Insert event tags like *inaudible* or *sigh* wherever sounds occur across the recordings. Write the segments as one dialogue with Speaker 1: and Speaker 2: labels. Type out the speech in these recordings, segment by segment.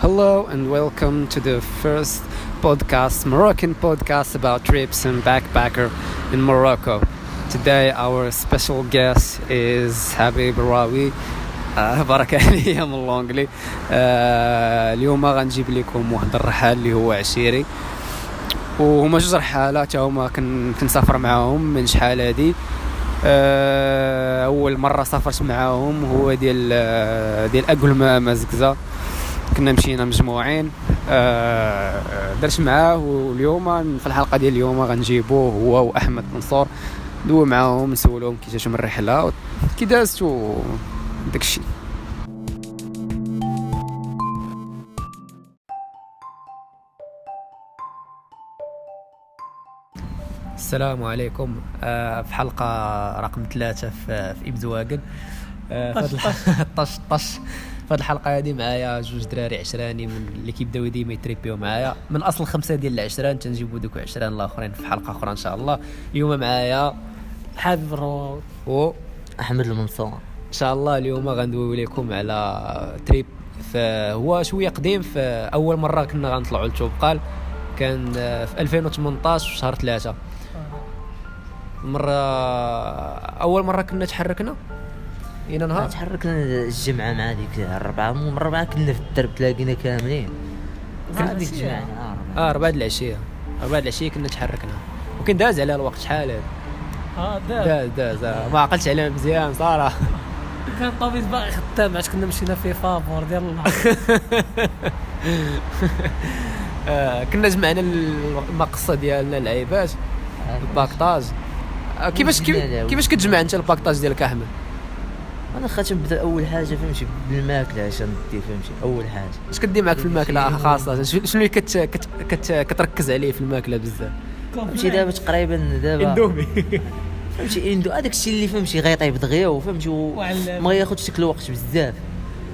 Speaker 1: Hello and welcome to the first podcast, Moroccan podcast about trips and backpacker in Morocco. Today our special guest is Habib Rawi. *laughs* آه بركة عليا من لونجلي آه اليوم غنجيب لكم واحد الرحال اللي هو عشيري وهما جوج رحالة تا هما كن- كنسافر معاهم من شحال هادي آه، اول مره سافرت معاهم هو ديال آه، ديال اقلمه مزكزه كنا مشينا مجموعين آه، درت معاه واليوم في الحلقه ديال اليوم غنجيبوه هو واحمد منصور ندوي معاهم نسولهم كي جاتهم الرحله كي دازت و داكشي السلام عليكم آه، في حلقه رقم ثلاثه في في ابزواقن آه، في هاد الح- *laughs* طش طش في هاد الحلقه هادي معايا جوج دراري عشراني من اللي كيبداو ديما يتريبيو معايا من اصل خمسه ديال العشران تنجيبو دوك عشران الاخرين في حلقه اخرى ان شاء الله اليوم معايا
Speaker 2: حابب الرواوي
Speaker 1: و
Speaker 3: احمد المنصور
Speaker 1: ان شاء الله اليوم غندوي لكم على تريب فهو شويه قديم فاول مره كنا غنطلعوا لتوبقال كان آه، في 2018 في شهر ثلاثة مرة أول مرة كنا تحركنا إلى نهار
Speaker 3: تحركنا الجمعه مع ديك الربعه من الربعه كنا في الدرب تلاقينا كاملين كنا
Speaker 2: هذيك
Speaker 3: ديك الجمعه
Speaker 2: الساعة.
Speaker 1: اه
Speaker 3: آه، الربعة.
Speaker 1: 4 د العشيه 4 د العشيه كنا تحركنا وكان داز على الوقت شحال هاد؟
Speaker 2: اه دار
Speaker 1: داز داز آه. ما عقلتش عليها مزيان صراحه
Speaker 2: كان الطبيب باقي خدام عاد كنا مشينا في فابور ديال
Speaker 1: *laughs*
Speaker 2: الله
Speaker 1: آه كنا جمعنا المقصه ديالنا العيبات الباكتاج آه كيفاش كيف- كيفاش كتجمع انت الباكتاج ديالك احمد
Speaker 3: انا خاطر نبدا اول حاجه فهمتي بالماكله عشان ندي فهمتي اول حاجه
Speaker 1: اش كدير معاك في الماكله خاصه شنو شنو اللي كت كت كت كتركز عليه في الماكله بزاف
Speaker 3: فهمتي
Speaker 2: *laughs*
Speaker 3: دابا تقريبا دابا
Speaker 1: اندومي
Speaker 3: *laughs* فهمتي اندو هذاك الشيء اللي فهمتي غيطيب دغيا وفهمتي و-
Speaker 2: وعلى-
Speaker 3: ما ياخذش ديك الوقت بزاف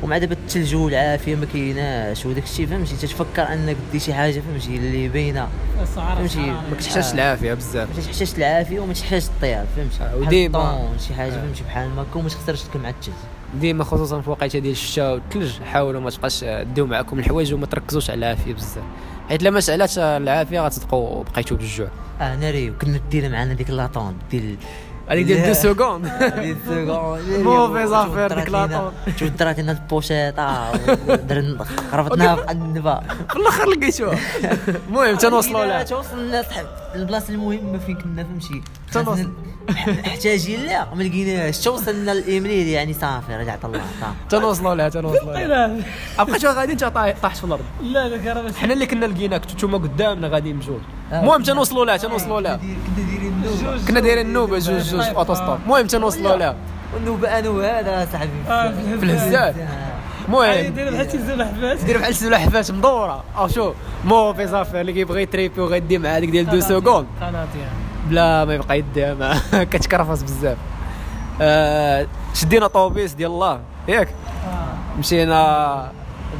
Speaker 3: ومع دابا الثلج والعافيه ما كايناش وداك الشيء فهمتي تتفكر انك دي شي حاجه فهمتي اللي باينه
Speaker 2: السعرات
Speaker 3: فهمتي،
Speaker 2: الحرارية.
Speaker 1: ما كتحتاجش العافيه بزاف
Speaker 3: ما تحتاجش العافيه وما تحتاجش الطياب فهمتي
Speaker 1: آه،
Speaker 3: بحال
Speaker 1: وديما-
Speaker 3: الطون، شي حاجه
Speaker 1: آه.
Speaker 3: فهمتي بحال ما وما تخسرش تكون مع الثلج
Speaker 1: ديما خصوصا في الوقيته ديال الشتاء والثلج حاولوا ما تبقاش ديو معكم الحوايج وما تركزوش على العافيه بزاف حيت لما سالات العافيه غتصدقوا بقيتوا بالجوع
Speaker 3: اه ناري وكنا دينا معنا ديك لاطون ديال
Speaker 1: هذيك ديال *laughs* دو
Speaker 3: *laughs*
Speaker 1: سكوند *laughs*
Speaker 3: ديال
Speaker 1: موفي زافير ديك لاطون.
Speaker 3: تودرات لنا البوشيطه ودرنا خربطناها في قنبه
Speaker 1: في الاخر لقيتوها المهم تنوصلوا لها
Speaker 3: توصلنا صحب البلاصه المهمه فين كنا فهمتي
Speaker 1: تنوصل.
Speaker 3: محتاجين لا ما لقيناهاش توصلنا للايميل يعني صافي رجع الله صافي
Speaker 1: تنوصلوا لها تنوصلوا *laughs* لها
Speaker 2: لا
Speaker 1: بقيتو غادي انت طاي- طاحت في الارض
Speaker 2: لا لا كرامة
Speaker 1: حنا اللي كنا لقيناك نتوما قدامنا غاديين بجوج
Speaker 3: آه.
Speaker 1: المهم تنوصلوا لها تنوصلوا لها
Speaker 3: كنا دايرين النوبه
Speaker 1: كنا دايرين النوبه جوج جوج في اوتوستوب المهم تنوصلوا لها
Speaker 3: النوبه انا وهذا صاحبي
Speaker 2: آه،
Speaker 3: *laughs*
Speaker 1: في الهزات المهم
Speaker 2: داير بحال شي زول حباس
Speaker 1: دير بحال سلاح فات مدوره او شو مو في زافير اللي كيبغي يتريبي وغيدي مع هذيك ديال دو سكوند
Speaker 2: قناطير
Speaker 1: بلا ما *laughs* يبقى يديها معاه كتكرفص بزاف آه شدينا طوبيس ديال الله ياك مشينا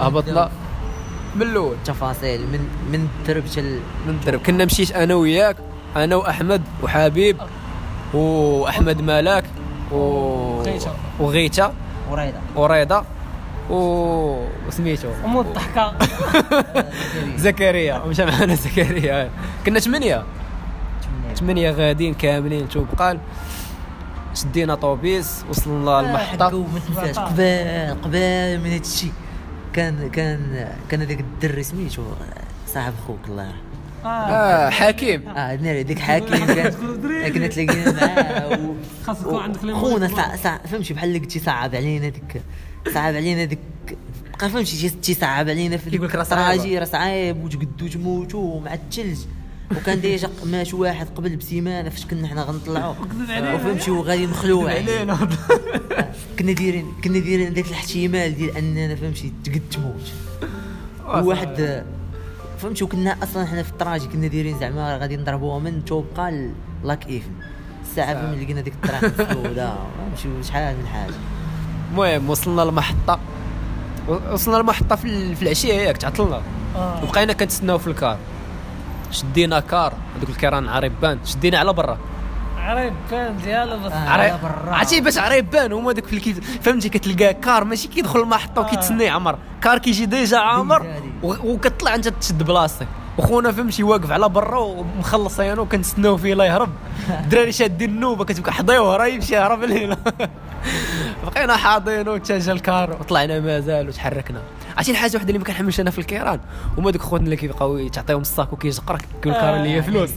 Speaker 1: هبطنا من الاول
Speaker 3: التفاصيل من من الدرب حتى ال-
Speaker 1: من الدرب كنا مشيت انا وياك انا واحمد وحبيب واحمد ملاك و...
Speaker 2: وغيتا.
Speaker 1: وغيتا
Speaker 3: وريضه
Speaker 1: وريضه و وسميتو
Speaker 2: امور
Speaker 1: *laughs*
Speaker 2: الضحكه
Speaker 1: زكريا مشى معنا *laughs* زكريا كنا ثمانيه ثمانيه غاديين كاملين توبقال شدينا طوبيس
Speaker 3: آه.
Speaker 1: وصلنا للمحطه
Speaker 3: ما تنساش قبال قبال من هذا الشيء كان كان كان هذاك الدري سميتو صاحب خوك الله يرحمه
Speaker 2: اه
Speaker 1: آه حكيم
Speaker 3: اه ناري ديك
Speaker 2: *laughs*
Speaker 3: حاكم كان كنا تلاقينا معاه و-
Speaker 2: خاص يكون عندك ليمون.
Speaker 3: خونا صع- صع- فهمتي بحال اللي قلتي صعب علينا ديك صعب علينا ديك بقى فهمتي شي ستي صعب علينا في
Speaker 1: كيقول لك راه صعيبة.
Speaker 3: التراجي راه صعيب وتقدو تموتوا مع الثلج وكان
Speaker 2: *laughs*
Speaker 3: ديجا مات واحد قبل بسيمانه فاش كنا حنا غنطلعوا
Speaker 2: كذب علينا.
Speaker 3: وفهمتي وغادي مخلوع
Speaker 1: علينا
Speaker 3: كنا دايرين كنا دايرين ذاك الاحتمال ديال اننا فهمتي تقد تموت واحد فهمتي وكنا اصلا حنا في التراجي كنا دايرين زعما غادي نضربوها من توبقى ل- لاك ايفن الساعه فين لقينا ديك الطريق السوداء فهمتي شحال من حاجه
Speaker 1: المهم وصلنا للمحطه و- وصلنا للمحطه في ال- في العشيه ياك تعطلنا
Speaker 2: آه.
Speaker 1: وبقينا كنتسناو في الكار شدينا كار هذوك الكيران عربان شدينا على برا
Speaker 2: عريبان ديالها بس
Speaker 3: آه.
Speaker 2: عري-
Speaker 3: على
Speaker 1: عري...
Speaker 3: برا.
Speaker 1: عرفتي باش عريبان هما دوك في الكيت فهمتي كتلقاه كار ماشي كيدخل المحطه وكيتسنى يعمر كار كيجي ديجا عامر
Speaker 3: آه. ديجا
Speaker 1: و- وكتطلع انت تشد بلاصتك وخونا فهمتي واقف على برا ومخلص انا وكنتسناو فيه لا يهرب الدراري شادين النوبه كتبقى حضيوه راه يمشي يهرب لينا *laughs* بقينا حاضين وتجا الكار وطلعنا مازال وتحركنا عرفتي الحاجه وحده اللي ما كنحملش انا في الكيران هما دوك خوتنا اللي كيبقاو تعطيهم الصاك وكيجقرك كيقول الكار اللي هي فلوس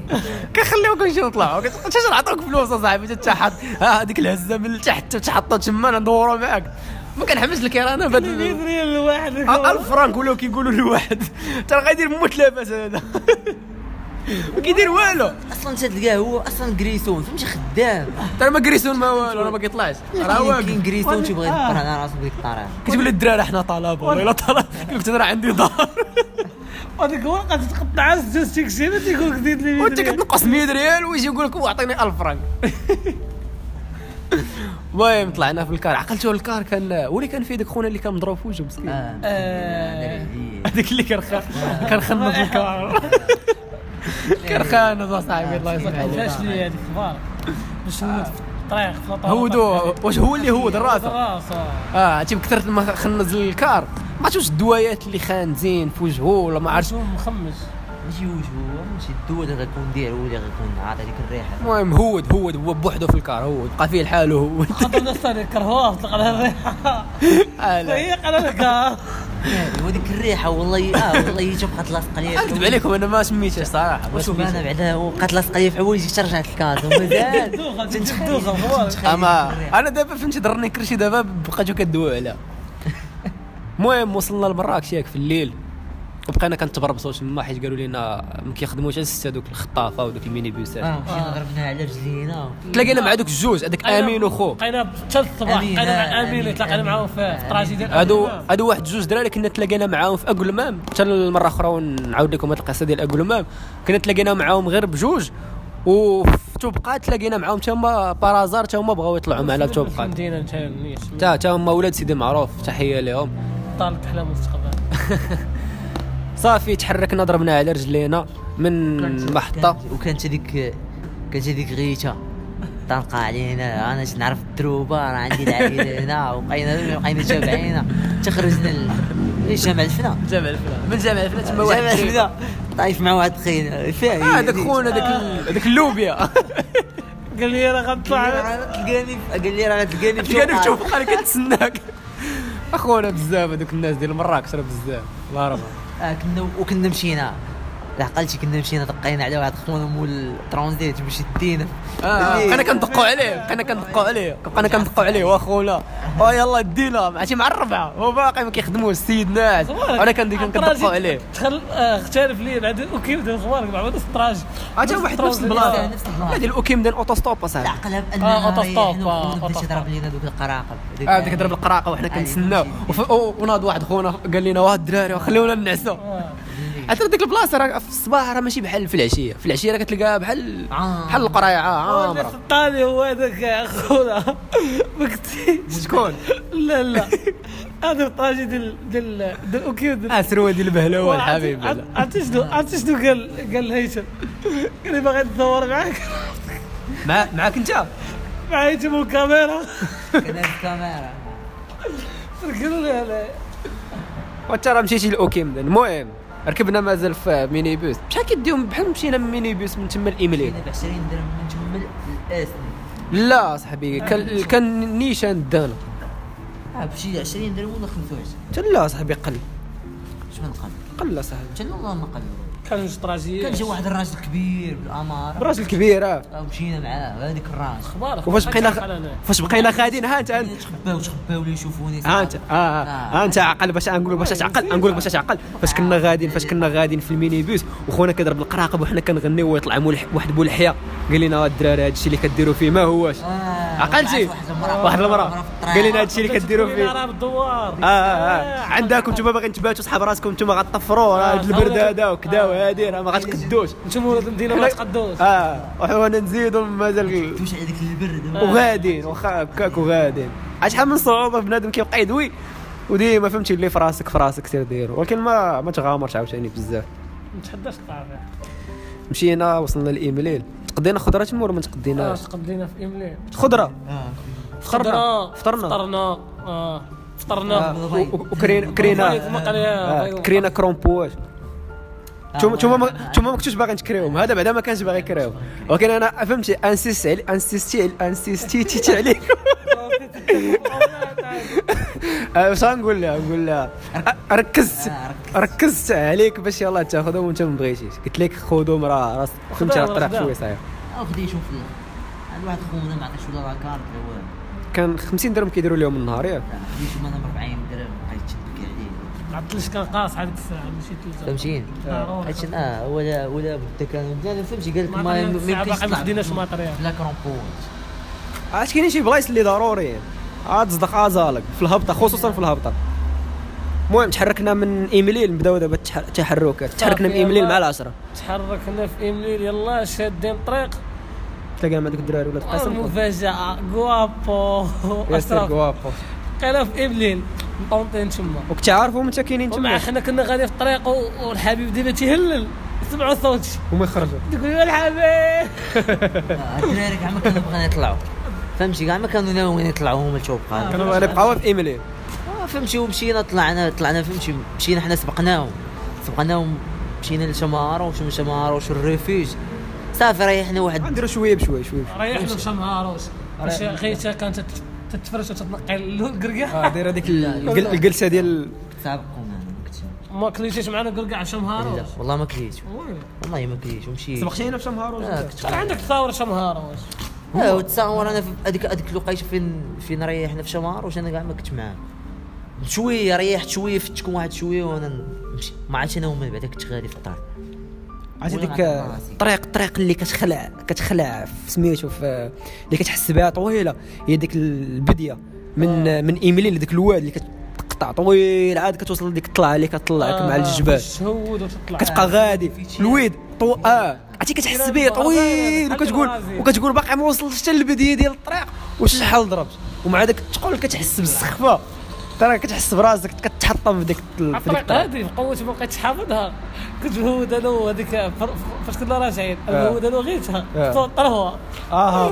Speaker 1: كنخليوك نمشيو نطلعوا كتشجر عطوك فلوس اصاحبي حتى تحط ها آه، هذيك الهزه من تحت تحطها تما ندورو معاك ما كنحملش الكيران ابدا
Speaker 2: 100 ريال الواحد
Speaker 1: آه، 1000 فرانك ولاو كيقولوا لواحد ترى غيدير موت لاباس هذا *laughs* ما كيدير والو
Speaker 3: اصلا تلقاه هو اصلا كريسون فهمتي خدام
Speaker 1: ترى ما كريسون ما والو راه ما كيطلعش *laughs* راه
Speaker 3: كاين
Speaker 1: واقف
Speaker 3: كريسون
Speaker 2: ولا-
Speaker 3: تيبغي
Speaker 2: آه.
Speaker 3: يدبر على راسو بديك آه، الطريقه
Speaker 1: كتقول لي الدراري حنا طلبه والله الا *laughs* طلب قلت انا عندي دار *laughs*
Speaker 2: هذيك ورقه تتقطع زوج تيكسينا تيقول لك دير لي 100
Speaker 1: وانت
Speaker 2: ريال.
Speaker 1: كتنقص 100 ريال ويجي يقول لك اعطيني 1000 *laughs* فرانك المهم طلعنا في الكار عقلتو الكار كان ولي كان فيه داك خونا اللي كان مضروب في وجهه مسكين
Speaker 3: اه
Speaker 2: آه.
Speaker 1: هذاك اللي كان
Speaker 2: *laughs*
Speaker 1: خا- كان خنط *laughs* الكار كان خانز اصاحبي الله يصلحه
Speaker 2: علاش لي هذيك فار باش نموت في الطريق في الطريق
Speaker 1: هودو واش هو اللي هود راسه
Speaker 2: راسه
Speaker 1: اه تيب كثرت ما خنز الكار ما عرفتش واش الدوايات اللي خانزين في وجهه ولا ما عرفتش
Speaker 2: عرفتو مخمس
Speaker 3: ماشي وجهه ماشي الدول اللي غيكون داير هو اللي غيكون عاطي هذيك الريحه
Speaker 1: المهم هود هود هو بوحدو في الكار هود بقى فيه لحاله هود *laughs*
Speaker 2: خاطر الناس ثاني كرهوها طلق على الريحه
Speaker 1: آه، لا.
Speaker 2: هي
Speaker 1: *laughs*
Speaker 2: قال لك
Speaker 1: آه.
Speaker 3: هو ديك الريحه والله اه والله تبقى تلاصق ليا
Speaker 1: اكذب عليكم انا ما سميتها صراحه ما
Speaker 3: وشوف
Speaker 1: سميتها
Speaker 3: انا بعدها هو بقات لاصقه ليا في حوايجي حتى رجعت للكاز ومازال
Speaker 2: دوغه دوغه فوالا
Speaker 1: اما انا دابا فهمتي درني كرشي دابا بقيتو كدوي عليها المهم وصلنا لمراكش ياك في الليل وبقينا كنتبربصوا تما حيت قالوا لنا ما كيخدموش على سته دوك الخطافه ودوك الميني
Speaker 3: اه
Speaker 1: بيوسات
Speaker 3: مشينا ضربناها على رجلينا
Speaker 1: تلاقينا مع دوك الجوج هذاك
Speaker 2: أيوه.
Speaker 1: امين وخو
Speaker 2: بقينا حتى الصباح
Speaker 3: أمين،
Speaker 2: بقينا
Speaker 3: آه،
Speaker 2: مع امين
Speaker 3: أمين،
Speaker 2: تلاقينا معاهم في
Speaker 3: آه،
Speaker 2: الطراجي ديال
Speaker 1: هادو
Speaker 2: أمين.
Speaker 1: هادو واحد جوج دراري كنا تلاقينا معاهم في اقلمام حتى المره اخرى ونعاود لكم هاد القصه ديال اقلمام كنا تلاقينا معاهم غير بجوج وفي توبقات تلاقينا معاهم تا هما بارازار تا هما بغاو يطلعوا معنا لتوبقات
Speaker 2: مدينه انت نيش
Speaker 1: تا تا هما ولاد سيدي معروف تحيه لهم
Speaker 2: طالب احلى مستقبل
Speaker 1: صافي تحركنا ضربنا على رجلينا من محطة
Speaker 3: كانت- وكانت هذيك كانت هذيك غيته طلقة علينا انا نعرف الدروبه راه عندي العائله هنا وبقينا بقينا جامعينا تخرجنا ل- إيه، جامع الفنا
Speaker 1: جامع الفنا من جامع الفنا تما
Speaker 3: جامع
Speaker 1: واحد
Speaker 3: الفنا طايف مع واحد خينا فيه
Speaker 1: اه داك خونا داك ال- داك اللوبيا
Speaker 2: قال لي راه غنطلع
Speaker 3: تلقاني في- قال لي راه غتلقاني في
Speaker 1: كان
Speaker 3: شوقة.
Speaker 1: بتشوف قال كنتسناك اخونا بزاف هذوك الناس ديال مراكش راه بزاف الله يرحمه
Speaker 3: آه كنا وكنا مشينا لعقلتي كنا مشينا دقينا على واحد خونا مول الترانزيت باش يدينا
Speaker 1: اه
Speaker 3: إيه.
Speaker 1: بقينا كندقوا عليه بقينا كندقوا عليه بقينا كندقوا عليه واخونا اه يلا دينا ماشي مع الربعه هو باقي ما كيخدموش السيد ناعس انا كندير كندقوا عليه
Speaker 2: تخل آه، اختلف لي بعد وكيبدا خوارك مع بعض الطراجي
Speaker 1: عرفتي آه، واحد نفس البلاصه
Speaker 3: نفس البلاصة.
Speaker 1: هذه الاوكيم ديال اوتوستوب اصاحبي
Speaker 3: العقلة بان
Speaker 2: آه،
Speaker 3: يعني
Speaker 2: أوتوستوب، آه،
Speaker 3: بدات
Speaker 2: أوتوستوب.
Speaker 3: تضرب لينا دوك القراقب
Speaker 1: اه بديك تضرب القراقه وحنا
Speaker 3: عادي،
Speaker 1: كنتسناو
Speaker 3: ماشي.
Speaker 1: وف- أو- وناض واحد خونا قال لنا واه الدراري خليونا نعسو حتى ديك البلاصه راه في الصباح راه ماشي بحال في العشيه في العشيه راه كتلقاها بحال
Speaker 3: عامرة.
Speaker 1: بحال آه، القرايه عا-
Speaker 2: اللي
Speaker 1: عامره
Speaker 2: سطاني هو هذاك *laughs* خونا مكتي
Speaker 1: شكون
Speaker 2: لا لا هذا الطاجي ديال ديال ديال اوكيود
Speaker 1: اه سروه ديال البهلوه الحبيب
Speaker 2: عرفت- عرفت شنو عرفت شنو قال قال هيثم قال لي باغي نتصور معاك
Speaker 1: مع معاك انت
Speaker 2: مع هيثم والكاميرا
Speaker 3: كنا الكاميرا
Speaker 2: قالوا لي أنا-
Speaker 1: وانت راه مشيتي للاوكيم المهم ركبنا مازال في ميني بوس بشحال كديهم بحال مشينا من ميني بوس من تما الايمليل
Speaker 3: كنا ب 20 درهم من تما للاسم
Speaker 1: لا صاحبي كان كان نيشان دانا
Speaker 3: اه بشي 20 درهم ولا 25
Speaker 1: حتى لا صاحبي قل
Speaker 3: شنو نقل
Speaker 1: قل صاحبي
Speaker 3: حتى والله ما قل
Speaker 2: كان جوج طراجيات
Speaker 3: كان جا واحد الراجل كبير بالاماره
Speaker 1: الراجل كبير اه
Speaker 3: آه، مشينا معاه هذيك الراجل
Speaker 2: اخبارك
Speaker 1: وفاش
Speaker 2: بحال
Speaker 1: بقينا
Speaker 2: أنا.
Speaker 1: فاش بقينا خادين ها انت ها انت-
Speaker 3: تخباو تخباو لي يشوفوني آه.
Speaker 1: ها انت اه ها انت عقل باش نقول باش تعقل نقول باش تعقل فاش كنا غاديين فاش كنا غاديين في الميني بوس وخونا كيضرب القراقب وحنا كنغنيو ويطلع مولح- واحد بولحيه قال لنا "آه الدراري هذا الشيء اللي كديروا فيه ما هواش
Speaker 3: آه،
Speaker 1: عقلتي
Speaker 3: واحد المرأة-
Speaker 1: واحد
Speaker 3: مرأة
Speaker 1: المراه
Speaker 3: في الطريق.
Speaker 1: قال لنا هذا الشيء اللي كديروا
Speaker 2: تقولي
Speaker 1: فيه
Speaker 2: راه بالدوار
Speaker 1: اه اه اه عندكم نتوما باغي تباتوا صحاب راسكم نتوما غطفروا راه
Speaker 2: آه،
Speaker 1: هاد البرد
Speaker 2: آه.
Speaker 1: هذا وكذا وهادي راه ما غتقدوش
Speaker 2: نتوما ولاد المدينه ما تقدوش
Speaker 1: اه وحنا نزيدوا مازال
Speaker 3: توش على ديك البرد
Speaker 1: وغادين واخا هكاك وغادين عاد شحال من صعوبه بنادم كيبقى يدوي وديما فهمتي اللي في راسك في راسك سير ديرو ولكن ما ما تغامرش عاوتاني بزاف
Speaker 2: ما تحداش الطعام
Speaker 1: مشينا وصلنا لايميليل تقدينا خضره تما ولا ما
Speaker 2: آه،
Speaker 1: تقديناش
Speaker 2: تقدينا في املي
Speaker 4: خضره
Speaker 3: اه
Speaker 1: فطرنا فطرنا
Speaker 2: فطرنا اه
Speaker 4: آه،
Speaker 2: فطرنا
Speaker 1: و- و- وكرينا كرينا
Speaker 2: ما قال
Speaker 1: آه،
Speaker 2: يا بيض. *laughs*
Speaker 1: كرينا كرومبواج
Speaker 3: آه،
Speaker 1: انتم انتم ما
Speaker 3: آه.
Speaker 1: انتم ما كنتوش باغيين تكريوهم هذا بعدا ما كانش باغي يكريوهم ولكن انا فهمتي انسيست علي انسيستي انسيستي تي عليكم آه، واش غنقول لها نقول لها آه، ركزت
Speaker 3: آه، ركزت.
Speaker 1: ركزت عليك باش يلاه تاخذهم وانت ما بغيتيش قلت لك خذهم راه راه فهمتي راه
Speaker 2: راه
Speaker 1: طريح
Speaker 2: خداهم.
Speaker 1: شويه صاير
Speaker 3: او خدي شوف ال- عند واحد خونا ما عطاش ولا لاكارت اللي هو
Speaker 1: كان 50 درهم كيديروا لهم النهار ياك
Speaker 3: لا، خدي شوف انا ب 40 درهم بقيت تشبك عليه
Speaker 2: ما عطلش كان قاص هذيك الساعه مشيت للجامعة.
Speaker 3: فهمتيني
Speaker 2: ضروري.
Speaker 3: حيت اه ولا ولا بدا كان لا لا فهمتي قال لك
Speaker 2: ما
Speaker 3: ما
Speaker 2: عطينا
Speaker 3: يمكنش
Speaker 2: الساعة، باقي ما
Speaker 3: تلعب
Speaker 2: خديناش ماتريال.
Speaker 3: في لا كرومبوز
Speaker 1: عاد كاينين شي بلايص اللي ضروري عاد تصدق ازالك في الهبطه خصوصا في الهبطه المهم تحركنا من ايميليل نبداو دابا التح- التحركات تحركنا من
Speaker 2: صافي،
Speaker 1: ايميليل مع
Speaker 2: يلا.
Speaker 1: العشرة
Speaker 2: تحركنا في امليل يلا شادين طريق
Speaker 1: تلاقى مع دوك الدراري ولا تقاسم
Speaker 2: المفاجأة غوابو
Speaker 1: ياسر
Speaker 2: أشرف
Speaker 1: كوافو
Speaker 2: قيلة في إبليل مطونطين تما
Speaker 1: وكنت عارفهم انت كاينين
Speaker 2: ومع
Speaker 1: تما
Speaker 2: حنا كنا غادي في الطريق و- والحبيب ديما تيهلل سمعوا صوتي
Speaker 1: هما يخرجوا
Speaker 2: تقول يا الحبيب
Speaker 3: آه، الدراري كاع ما كانوا بغينا يطلعوا فهمتي كاع ما كانوا ناويين يطلعوا هما تشوف قال
Speaker 1: كانوا غنبقاو في ايميليل
Speaker 3: آه، فهمتي ومشينا طلعنا طلعنا فهمتي مشينا حنا سبقناهم سبقناهم مشينا لشمارة وشم شمارة وش الريفيج صافي ريحنا واحد
Speaker 1: غنديروا شويه بشويه شويه بشويه
Speaker 2: ريحنا مشى مع روس باش
Speaker 1: ريحنا.
Speaker 2: غيتا كانت تت- تتفرج وتتنقي
Speaker 1: اه
Speaker 2: الكركاع
Speaker 1: داير هذيك ال- الجل- الجلسه ديال
Speaker 3: سابقهم انا ما كنتش
Speaker 2: ما كليتيش معنا كركاع
Speaker 3: لا
Speaker 2: شمهاروش
Speaker 3: والله ما كليت والله ما كليت ومشيت
Speaker 1: سبقتينا في شمهاروج
Speaker 3: آه، كنت
Speaker 2: شحال
Speaker 3: قاعد.
Speaker 2: عندك تصاور شمهاروش
Speaker 3: اه وتصور انا في هذيك هذيك الوقيته فين فين ريحنا في شمار واش انا كاع ما كنت معاهم شويه ريحت شويه فتكم واحد شويه وانا نمشي ما عرفتش انا ومن بعد كنت غادي في الدار
Speaker 1: عرفتي
Speaker 3: وين
Speaker 1: ديك
Speaker 3: غنحط راسي؟
Speaker 1: الطريق الطريق آه، اللي كتخلع كتخلع في سميتو في اللي كتحس بها طويله هي ديك البديه من من ايميليل ديك الواد اللي كتقطع طويل عاد كتوصل لديك الطلعه اللي كتطلعك
Speaker 2: آه،
Speaker 1: مع الجبال
Speaker 2: تشهود وتطلع
Speaker 1: كتبقى غادي الويد طو اه عرفتي كتحس به طويل وكتقول وكتقول باقي ما وصلتش حتى للبديه ديال الطريق وش شحال ضربت ومع داك الثقل كتحس بالسخفه ترى كتحس براسك كتحطم في ديك في ديك
Speaker 2: الطريق
Speaker 1: الطريق
Speaker 2: هذه بقوتي ما بقيتش حافظها كنت مهود انا وهذيك فر- فاش كنا راجعين
Speaker 1: آه.
Speaker 2: مهود انا وغيتها
Speaker 1: آه.
Speaker 2: صوت طرهوه
Speaker 1: اه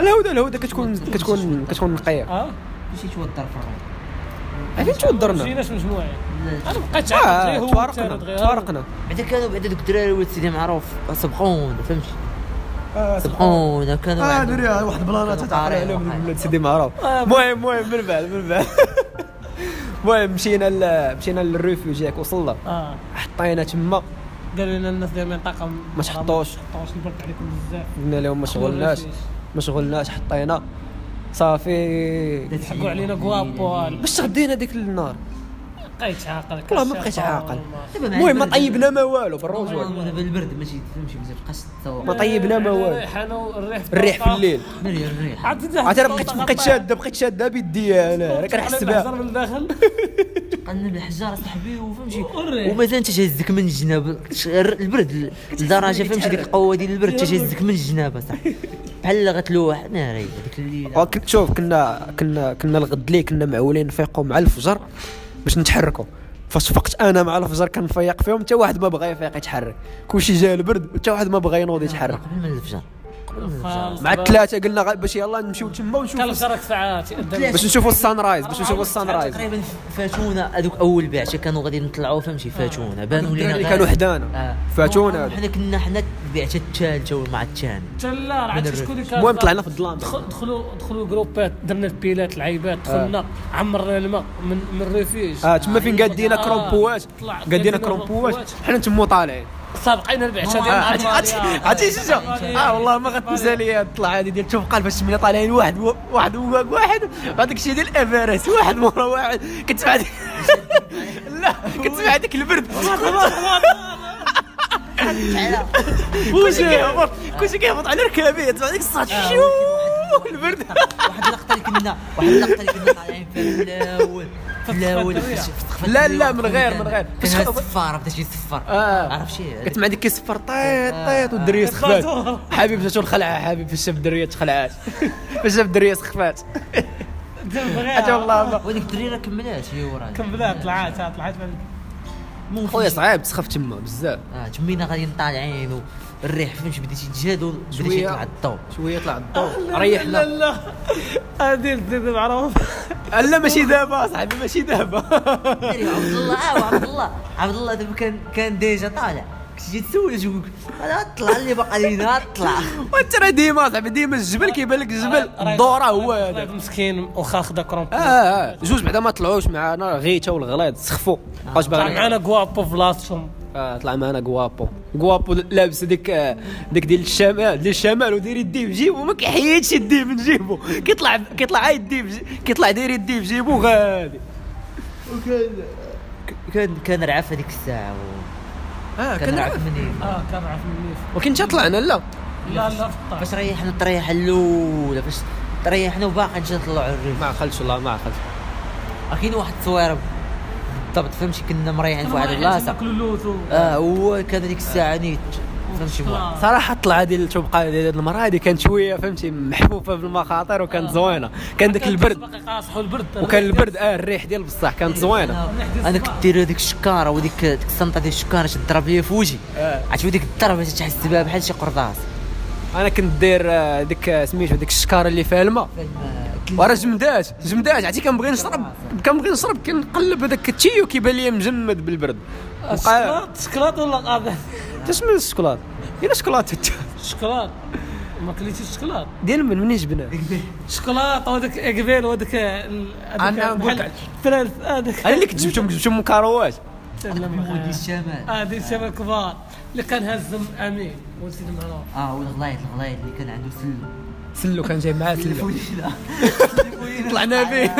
Speaker 1: الهوده الهوده كتكون كتكون كتكون نقيه
Speaker 2: اه
Speaker 3: مشيت توضر في الروح
Speaker 1: عرفتي تودرنا
Speaker 2: مشيناش مجموعين انا ما بقيتش عارف غير
Speaker 1: اه
Speaker 2: هو
Speaker 1: تفارقنا
Speaker 2: والثالث غير
Speaker 1: تفارقنا
Speaker 3: بعد كانوا بعد دوك الدراري ولاد سيدي معروف سبقونا فهمتي سبقونا كانوا
Speaker 1: اه
Speaker 3: عندهم-
Speaker 1: دوري آه، واحد بلانات
Speaker 3: كانوا
Speaker 1: تتعرف
Speaker 3: قارعين
Speaker 1: عليهم
Speaker 3: وقارعين.
Speaker 1: ولاد سيدي معروف
Speaker 2: آه،
Speaker 1: المهم المهم من بعد من بعد *laughs* المهم مشينا ل- مشينا للريفوج ياك وصلنا
Speaker 2: اه
Speaker 1: حطينا تما
Speaker 2: قالوا لنا الناس ديال المنطقه م-
Speaker 1: ما تحطوش.
Speaker 2: ما تحطوش يبرد عليكم بزاف
Speaker 1: قلنا لهم ما شغلناش ما شغلناش حطينا صافي
Speaker 2: حقوا علينا كوابو
Speaker 1: باش تغدينا ديك النار
Speaker 2: بقيتش عاقل
Speaker 1: والله ما بقيتش عاقل.
Speaker 3: دابا مع
Speaker 1: المهم ما
Speaker 3: البرد-
Speaker 1: طيبنا ما والو في الرجوع
Speaker 3: دابا البرد ماشي تمشي ما تبقاش
Speaker 1: ما
Speaker 3: تسوق
Speaker 1: طيبنا ما والو
Speaker 2: الريح انا والريح
Speaker 1: الريح في الليل
Speaker 3: مريا الريح
Speaker 1: عاد انا بقيت بقيت شاده بقيت شاده بيدي انا راه كنحس بها
Speaker 2: من الداخل
Speaker 3: قلنا بالحجار صاحبي وفهمتي
Speaker 2: والريح.
Speaker 3: ومازال انت تهزك من الجناب البرد لدرجه فهمتي ديك القوه ديال البرد تهزك من الجناب صاحبي بحال غتلوح ناري هذيك الليله
Speaker 1: وكن- شوف كنا كنا كنا الغد ليه كنا معولين نفيقوا مع الفجر باش نتحركوا فاش فقت انا مع الفجر كنفيق فيهم حتى واحد ما بغى يفيق يتحرك كلشي جا البرد حتى واحد ما بغى ينوض يتحرك
Speaker 3: قبل من الفجر قبل من الفجر
Speaker 1: مع الثلاثه قلنا غا- باش يلا نمشيو تما
Speaker 2: كان
Speaker 1: ونشوفوا
Speaker 2: الفجر ساعات يقدم.
Speaker 1: باش نشوفوا السان رايز باش نشوفوا السان رايز
Speaker 3: تقريبا فاتونا هذوك اول بعشة كانوا غادي نطلعوا فهمتي فاتونا بانوا لينا
Speaker 1: الدراري
Speaker 3: غادي-
Speaker 1: كانوا حدانا
Speaker 3: آه.
Speaker 1: فاتونا هادو.
Speaker 3: حنا كنا حنا بعشة الثالثة ولا مع الثاني
Speaker 2: تلا عرفت شكون اللي كان
Speaker 1: المهم طلعنا في الظلام
Speaker 2: دخل- دخلوا دخلوا جروبات درنا البيلات العيبات دخلنا عمرنا الماء من من الريفيج
Speaker 1: اه آه. تما فين قادينا
Speaker 2: آه.
Speaker 1: كرومبوات
Speaker 2: طلع-
Speaker 1: قادينا
Speaker 2: قادينا
Speaker 1: كرومبوات
Speaker 2: كرومبوات.
Speaker 1: حنا تمو طالعين
Speaker 2: سابقين البعشة ديال
Speaker 1: آه، عرفتي-
Speaker 2: الأربعة
Speaker 1: عرفتي
Speaker 2: ديال-
Speaker 1: عرفتي شنو اه والله ما غتنسى لي هاد الطلعه هادي ديال توفقال باش ملي طالعين واحد و- واحد وواق واحد بعد الشيء ديال الافارس واحد مورا واحد كتسمع ديك *laughs* لا كتسمع ديك البرد *laughs* كلشي كيهبط كلشي كيهبط على ركابيه تسمع ديك الصوت شيو البرد
Speaker 3: واحد اللقطة اللي كنا واحد اللقطة اللي كنا طالعين فيها الاول الاول
Speaker 1: لا، لا، من غير- من غير.
Speaker 3: كان هاد الصفار بدا يصفر
Speaker 1: آه.
Speaker 3: عرف شي
Speaker 1: كتسمع ديك كيصفر طيط طيط والدريه سخفات حبيب فاش الخلعه حبيب فاش شاف الدريه تخلعات *laughs* فاش شاف الدريه سخفات
Speaker 2: دم
Speaker 1: حتى
Speaker 2: غير.
Speaker 1: آه. والله ما
Speaker 3: وديك الدريرة كملات هي وراك
Speaker 2: كملات طلعات آه، طلعات من-
Speaker 3: ممكن
Speaker 4: خويا صعيب تسخف تما بزاف
Speaker 3: اه تمينا غادي نطالعين والريح فهمتش بديتي تجهد وبدا
Speaker 4: شوية.
Speaker 3: يطلع الضوء
Speaker 4: شويه طلع الضوء ريحنا
Speaker 2: لا لا هادي الزيد معروف
Speaker 1: لا ماشي دابا صاحبي ماشي دابا
Speaker 4: *laughs*
Speaker 3: داري عبد الله آه، عبد الله عبد الله دابا كان كان ديجا طالع كنت جيت تسول تقول انا طلع اللي باقي لينا
Speaker 1: *laughs*
Speaker 3: طلع
Speaker 1: وانت راه ديما صاحبي ديما الجبل كيبان لك الجبل
Speaker 2: آه،
Speaker 1: الضو راه هو هذا آه.
Speaker 2: مسكين واخا خدا
Speaker 4: اه
Speaker 2: كرومبي
Speaker 4: اه جوج بعدا ما طلعوش معانا غيتا والغليظ سخفوا واش
Speaker 2: طلع
Speaker 4: باغي
Speaker 2: معانا كوابو في بلاصتهم
Speaker 4: آه، طلع معنا غوابو غوابو لابس ديك آه، ديك ديال الشمال ديال الشمال وداير يديه في جيبو ما كيحيدش يديه من جيبو كيطلع كيطلع عا يديه في جي- كيطلع داير يديه في جيبو غادي
Speaker 3: كان كان رعف هذيك الساعه و-
Speaker 1: اه
Speaker 3: كان
Speaker 1: كان
Speaker 3: رعف منين
Speaker 2: اه كان عارف منيف
Speaker 4: ولكن تا طلعنا لا
Speaker 2: لا لا في الطاش
Speaker 3: فاش ريحنا الطريحه الاولى فاش طريحنا وباقي نجي نطلعوا الريح
Speaker 4: ما عقلتش والله ما عقلتش
Speaker 3: راه كاين واحد التصويره بالضبط فهمتي كنا مريحين في واحد البلاصه
Speaker 2: كل لوث و-
Speaker 3: اه هو كان هذيك الساعه نيت فهمتي بواحد
Speaker 4: صراحه الطلعه ديال التوبقه ديال هاد المره هذه كانت شويه فهمتي محفوفه بالمخاطر وكانت زوينه كان داك البرد
Speaker 2: باقي قاصح والبرد
Speaker 4: وكان البرد اه الريح ديال بصح كانت زوينه
Speaker 3: انا كنت داير هذيك الشكاره وديك ديك الصنطه ديال الشكاره تضرب ليا في وجهي عرفتي ديك الضربه تحس بها بحال شي قرطاس
Speaker 4: انا كنت داير آه، ديك آه، سميتو ديك الشكاره اللي فيها الماء وراه جمدات جمدات عرفتي كنبغي نشرب كنبغي نشرب كنقلب هذاك التي وكيبان لي مجمد بالبرد بقى-
Speaker 2: الشكلاط الشكلاط آه، ولا قاعد
Speaker 4: تاش من الشوكولات الى شوكولات *laughs* انت
Speaker 2: الشكلاط ما كليتش الشكلاط
Speaker 4: ديال من منين جبناه
Speaker 2: الشكلاط وهذاك اكبيل وهذاك ال- هذاك
Speaker 4: أنا نقول
Speaker 2: بحال
Speaker 4: لك.
Speaker 2: الثلاث هذاك
Speaker 4: انا اللي كنت جبتهم كنت جبتهم من كارواش
Speaker 3: مولدي الشمال
Speaker 2: هذه الشباب كبار اللي كان هزم امين ونسيت معنا
Speaker 3: اه والغلايط الغلايط اللي كان عنده سلو
Speaker 4: سلو كان جاي معاه
Speaker 1: *laughs*
Speaker 4: سلو
Speaker 3: فوجينا
Speaker 4: طلعنا به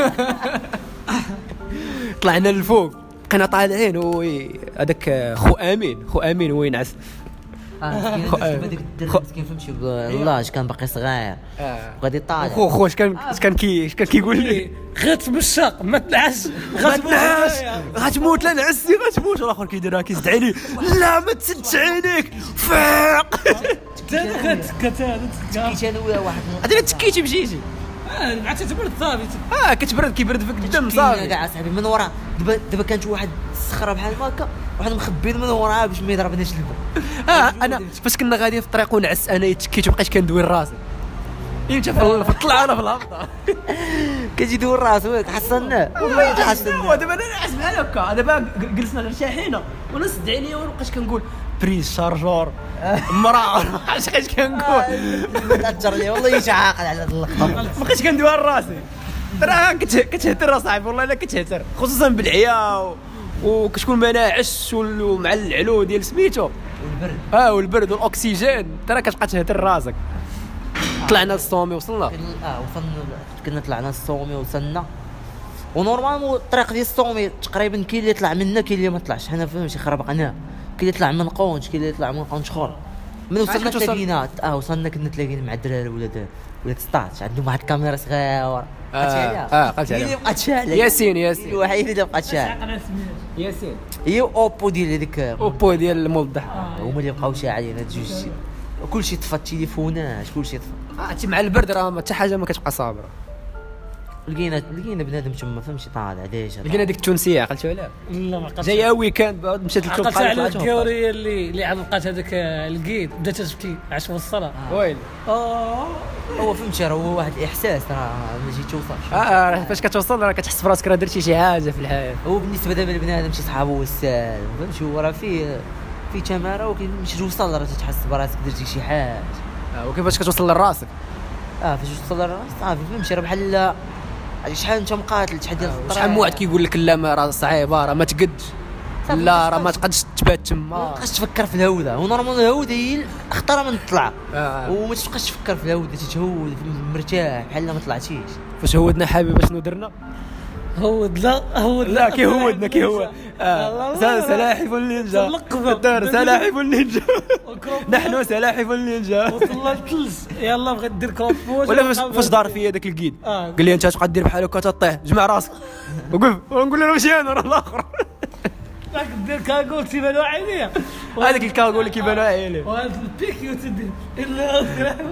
Speaker 4: طلعنا للفوق بقينا طالعين وي هذاك خو امين خو امين هو ينعس
Speaker 3: هذيك الدرب آه، مسكين فهمتي والله كان باقي صغير وغادي
Speaker 4: خو
Speaker 3: طالع
Speaker 4: خو اش كان اش كان كي اش كان كيقول لي *laughs*
Speaker 2: غير إيه، بالشاق ما تنعش غتموت هنايا.
Speaker 1: غتموت لا نعسي غتموت والاخر كيدير هاك يسد عليه لا ما تسدش عينيك فاق
Speaker 2: حتى انا غتكا حتى انا تكا
Speaker 3: جيت انا وياه واحد
Speaker 1: هذه تكيتي بجيجي
Speaker 2: آه، عاد تبرد ثابت
Speaker 1: اه كتبرد كيبرد فيك الدم
Speaker 3: كاين
Speaker 1: صافي
Speaker 3: كاع صاحبي من ورا دابا دابا كانت واحد الصخره بحال هكا واحد مخبين من وراها باش ما يضربناش الباب
Speaker 1: اه انا فاش كنا غاديين في الطريق ونعس انا تكيت وبقيت كندوي راسي يمشى في ال- في الطلعه انا في الهبطه
Speaker 3: كتجي دور راسو تحصلناه والله
Speaker 1: هو *laughs*
Speaker 3: تحصلناه
Speaker 1: دابا انا نعس بحال هكا دابا قل- جلسنا غير شاحينه وانا سد عليا وانا بقيت كنقول بريز
Speaker 4: *laughs*
Speaker 1: شارجور مراه *laughs* ما عرفتش اش كنقول
Speaker 4: آه.
Speaker 3: تاثر لي والله يجي عاقل على هاد اللقطه
Speaker 1: ما بقيتش كندوي على راسي ترى كت- كتهتر صاحبي والله الا كتهتر خصوصا بالعيا و- وكتكون مناعش وال- ومع العلو ديال سميتو
Speaker 3: والبرد
Speaker 1: اه والبرد والاكسجين ترى كتبقى تهتر راسك
Speaker 4: آه.
Speaker 1: طلعنا للصومي وصلنا
Speaker 3: كنا- اه وصلنا كنا طلعنا الصومي وصلنا ونورمالمون الطريق ديال الصومي تقريبا كاين اللي طلع منا كاين اللي ما طلعش حنا فهمتي خربقناه كاين اللي طلع من قونج كاين اللي طلع من قونج خور من وصلنا
Speaker 1: كنت وصل-
Speaker 3: تلاقينا اه وصلنا كنا تلاقينا مع الدراري ولاد ولاد 16 عندهم واحد الكاميرا صغيره بقات عليها.
Speaker 4: آه، بقات
Speaker 3: هي
Speaker 4: عليها.
Speaker 3: اللي بقات شاعله
Speaker 4: ياسين
Speaker 3: هي
Speaker 4: ياسين
Speaker 3: الوحيده اللي بقات شاعله
Speaker 4: ياسين
Speaker 3: هي اوبو ديال هذيك
Speaker 4: اوبو ديال الموضح
Speaker 3: هما اللي بقاو شاعلين هاد جوج كلشي طفى التليفونات كلشي طفى
Speaker 1: آه،
Speaker 4: عرفتي مع البرد راه ما حتى حاجه ما كتبقى صابره
Speaker 3: لقينا لقينا بنادم تما فهمتي طالع ديجا
Speaker 4: لقينا ديك التونسيه عقلتي ولا
Speaker 2: لا ما قدرتش
Speaker 4: جايه ويكاند بعد مشات للتوب
Speaker 2: عقلت على الكورية اللي اللي علقات هذاك آه، القيد بدات تبكي عاش وصلها
Speaker 1: آه.
Speaker 4: وين
Speaker 2: اه
Speaker 3: آه. هو فهمتي راه هو واحد الاحساس راه ما جيت توصلش
Speaker 4: اه آه، راه فاش كتوصل راه كتحس براسك راه درتي شي حاجه في الحياه
Speaker 3: هو بالنسبه دابا لبنادم شي صحابو وسال فهمتي هو راه فيه في تماره وكيفاش توصل راه تتحس براسك درتي شي حاجه
Speaker 4: آه، وكيفاش كتوصل لراسك
Speaker 3: اه فاش توصل راه صافي فهمتي راه بحال شحال انت مقاتل شحال ديال
Speaker 1: طيب.
Speaker 3: الطريق
Speaker 4: آه، شحال من واحد كيقول لك لا ما راه صعيبه راه آه، ما تقدش
Speaker 3: صافي،
Speaker 4: لا
Speaker 3: ما
Speaker 4: راه ما
Speaker 3: تقدش.
Speaker 4: تقدش تبات
Speaker 3: ما
Speaker 4: تما
Speaker 3: تبقاش آه. تفكر في الهوده ونورمال الهوده هي خطره من الطلعه
Speaker 4: آه.
Speaker 3: وما تبقاش تفكر في الهوده تتهود مرتاح بحال لا ما طلعتيش
Speaker 4: فاش هودنا حبيبه شنو درنا؟
Speaker 2: هود لا هود
Speaker 1: لا كي هودنا كي هو آه، س- سلاحف النينجا
Speaker 2: تلقفة.
Speaker 1: الدار سلاحف النينجا *laughs* نحن سلاحف النينجا
Speaker 2: وصلنا للثلج يلا بغيت دير كروب فوج
Speaker 1: ولا فاش فاش دار فيا ذاك القيد
Speaker 2: آه.
Speaker 1: قال لي انت تبقى دير بحال هكا تطيح جمع راسك وقف ونقول له ماشي انا راه الاخر
Speaker 2: داك دير كاكول تيبانو عينيا
Speaker 1: هذاك الكاغو اللي كيبانوا عيالي آه،
Speaker 2: وهذا البيكيو تدير الا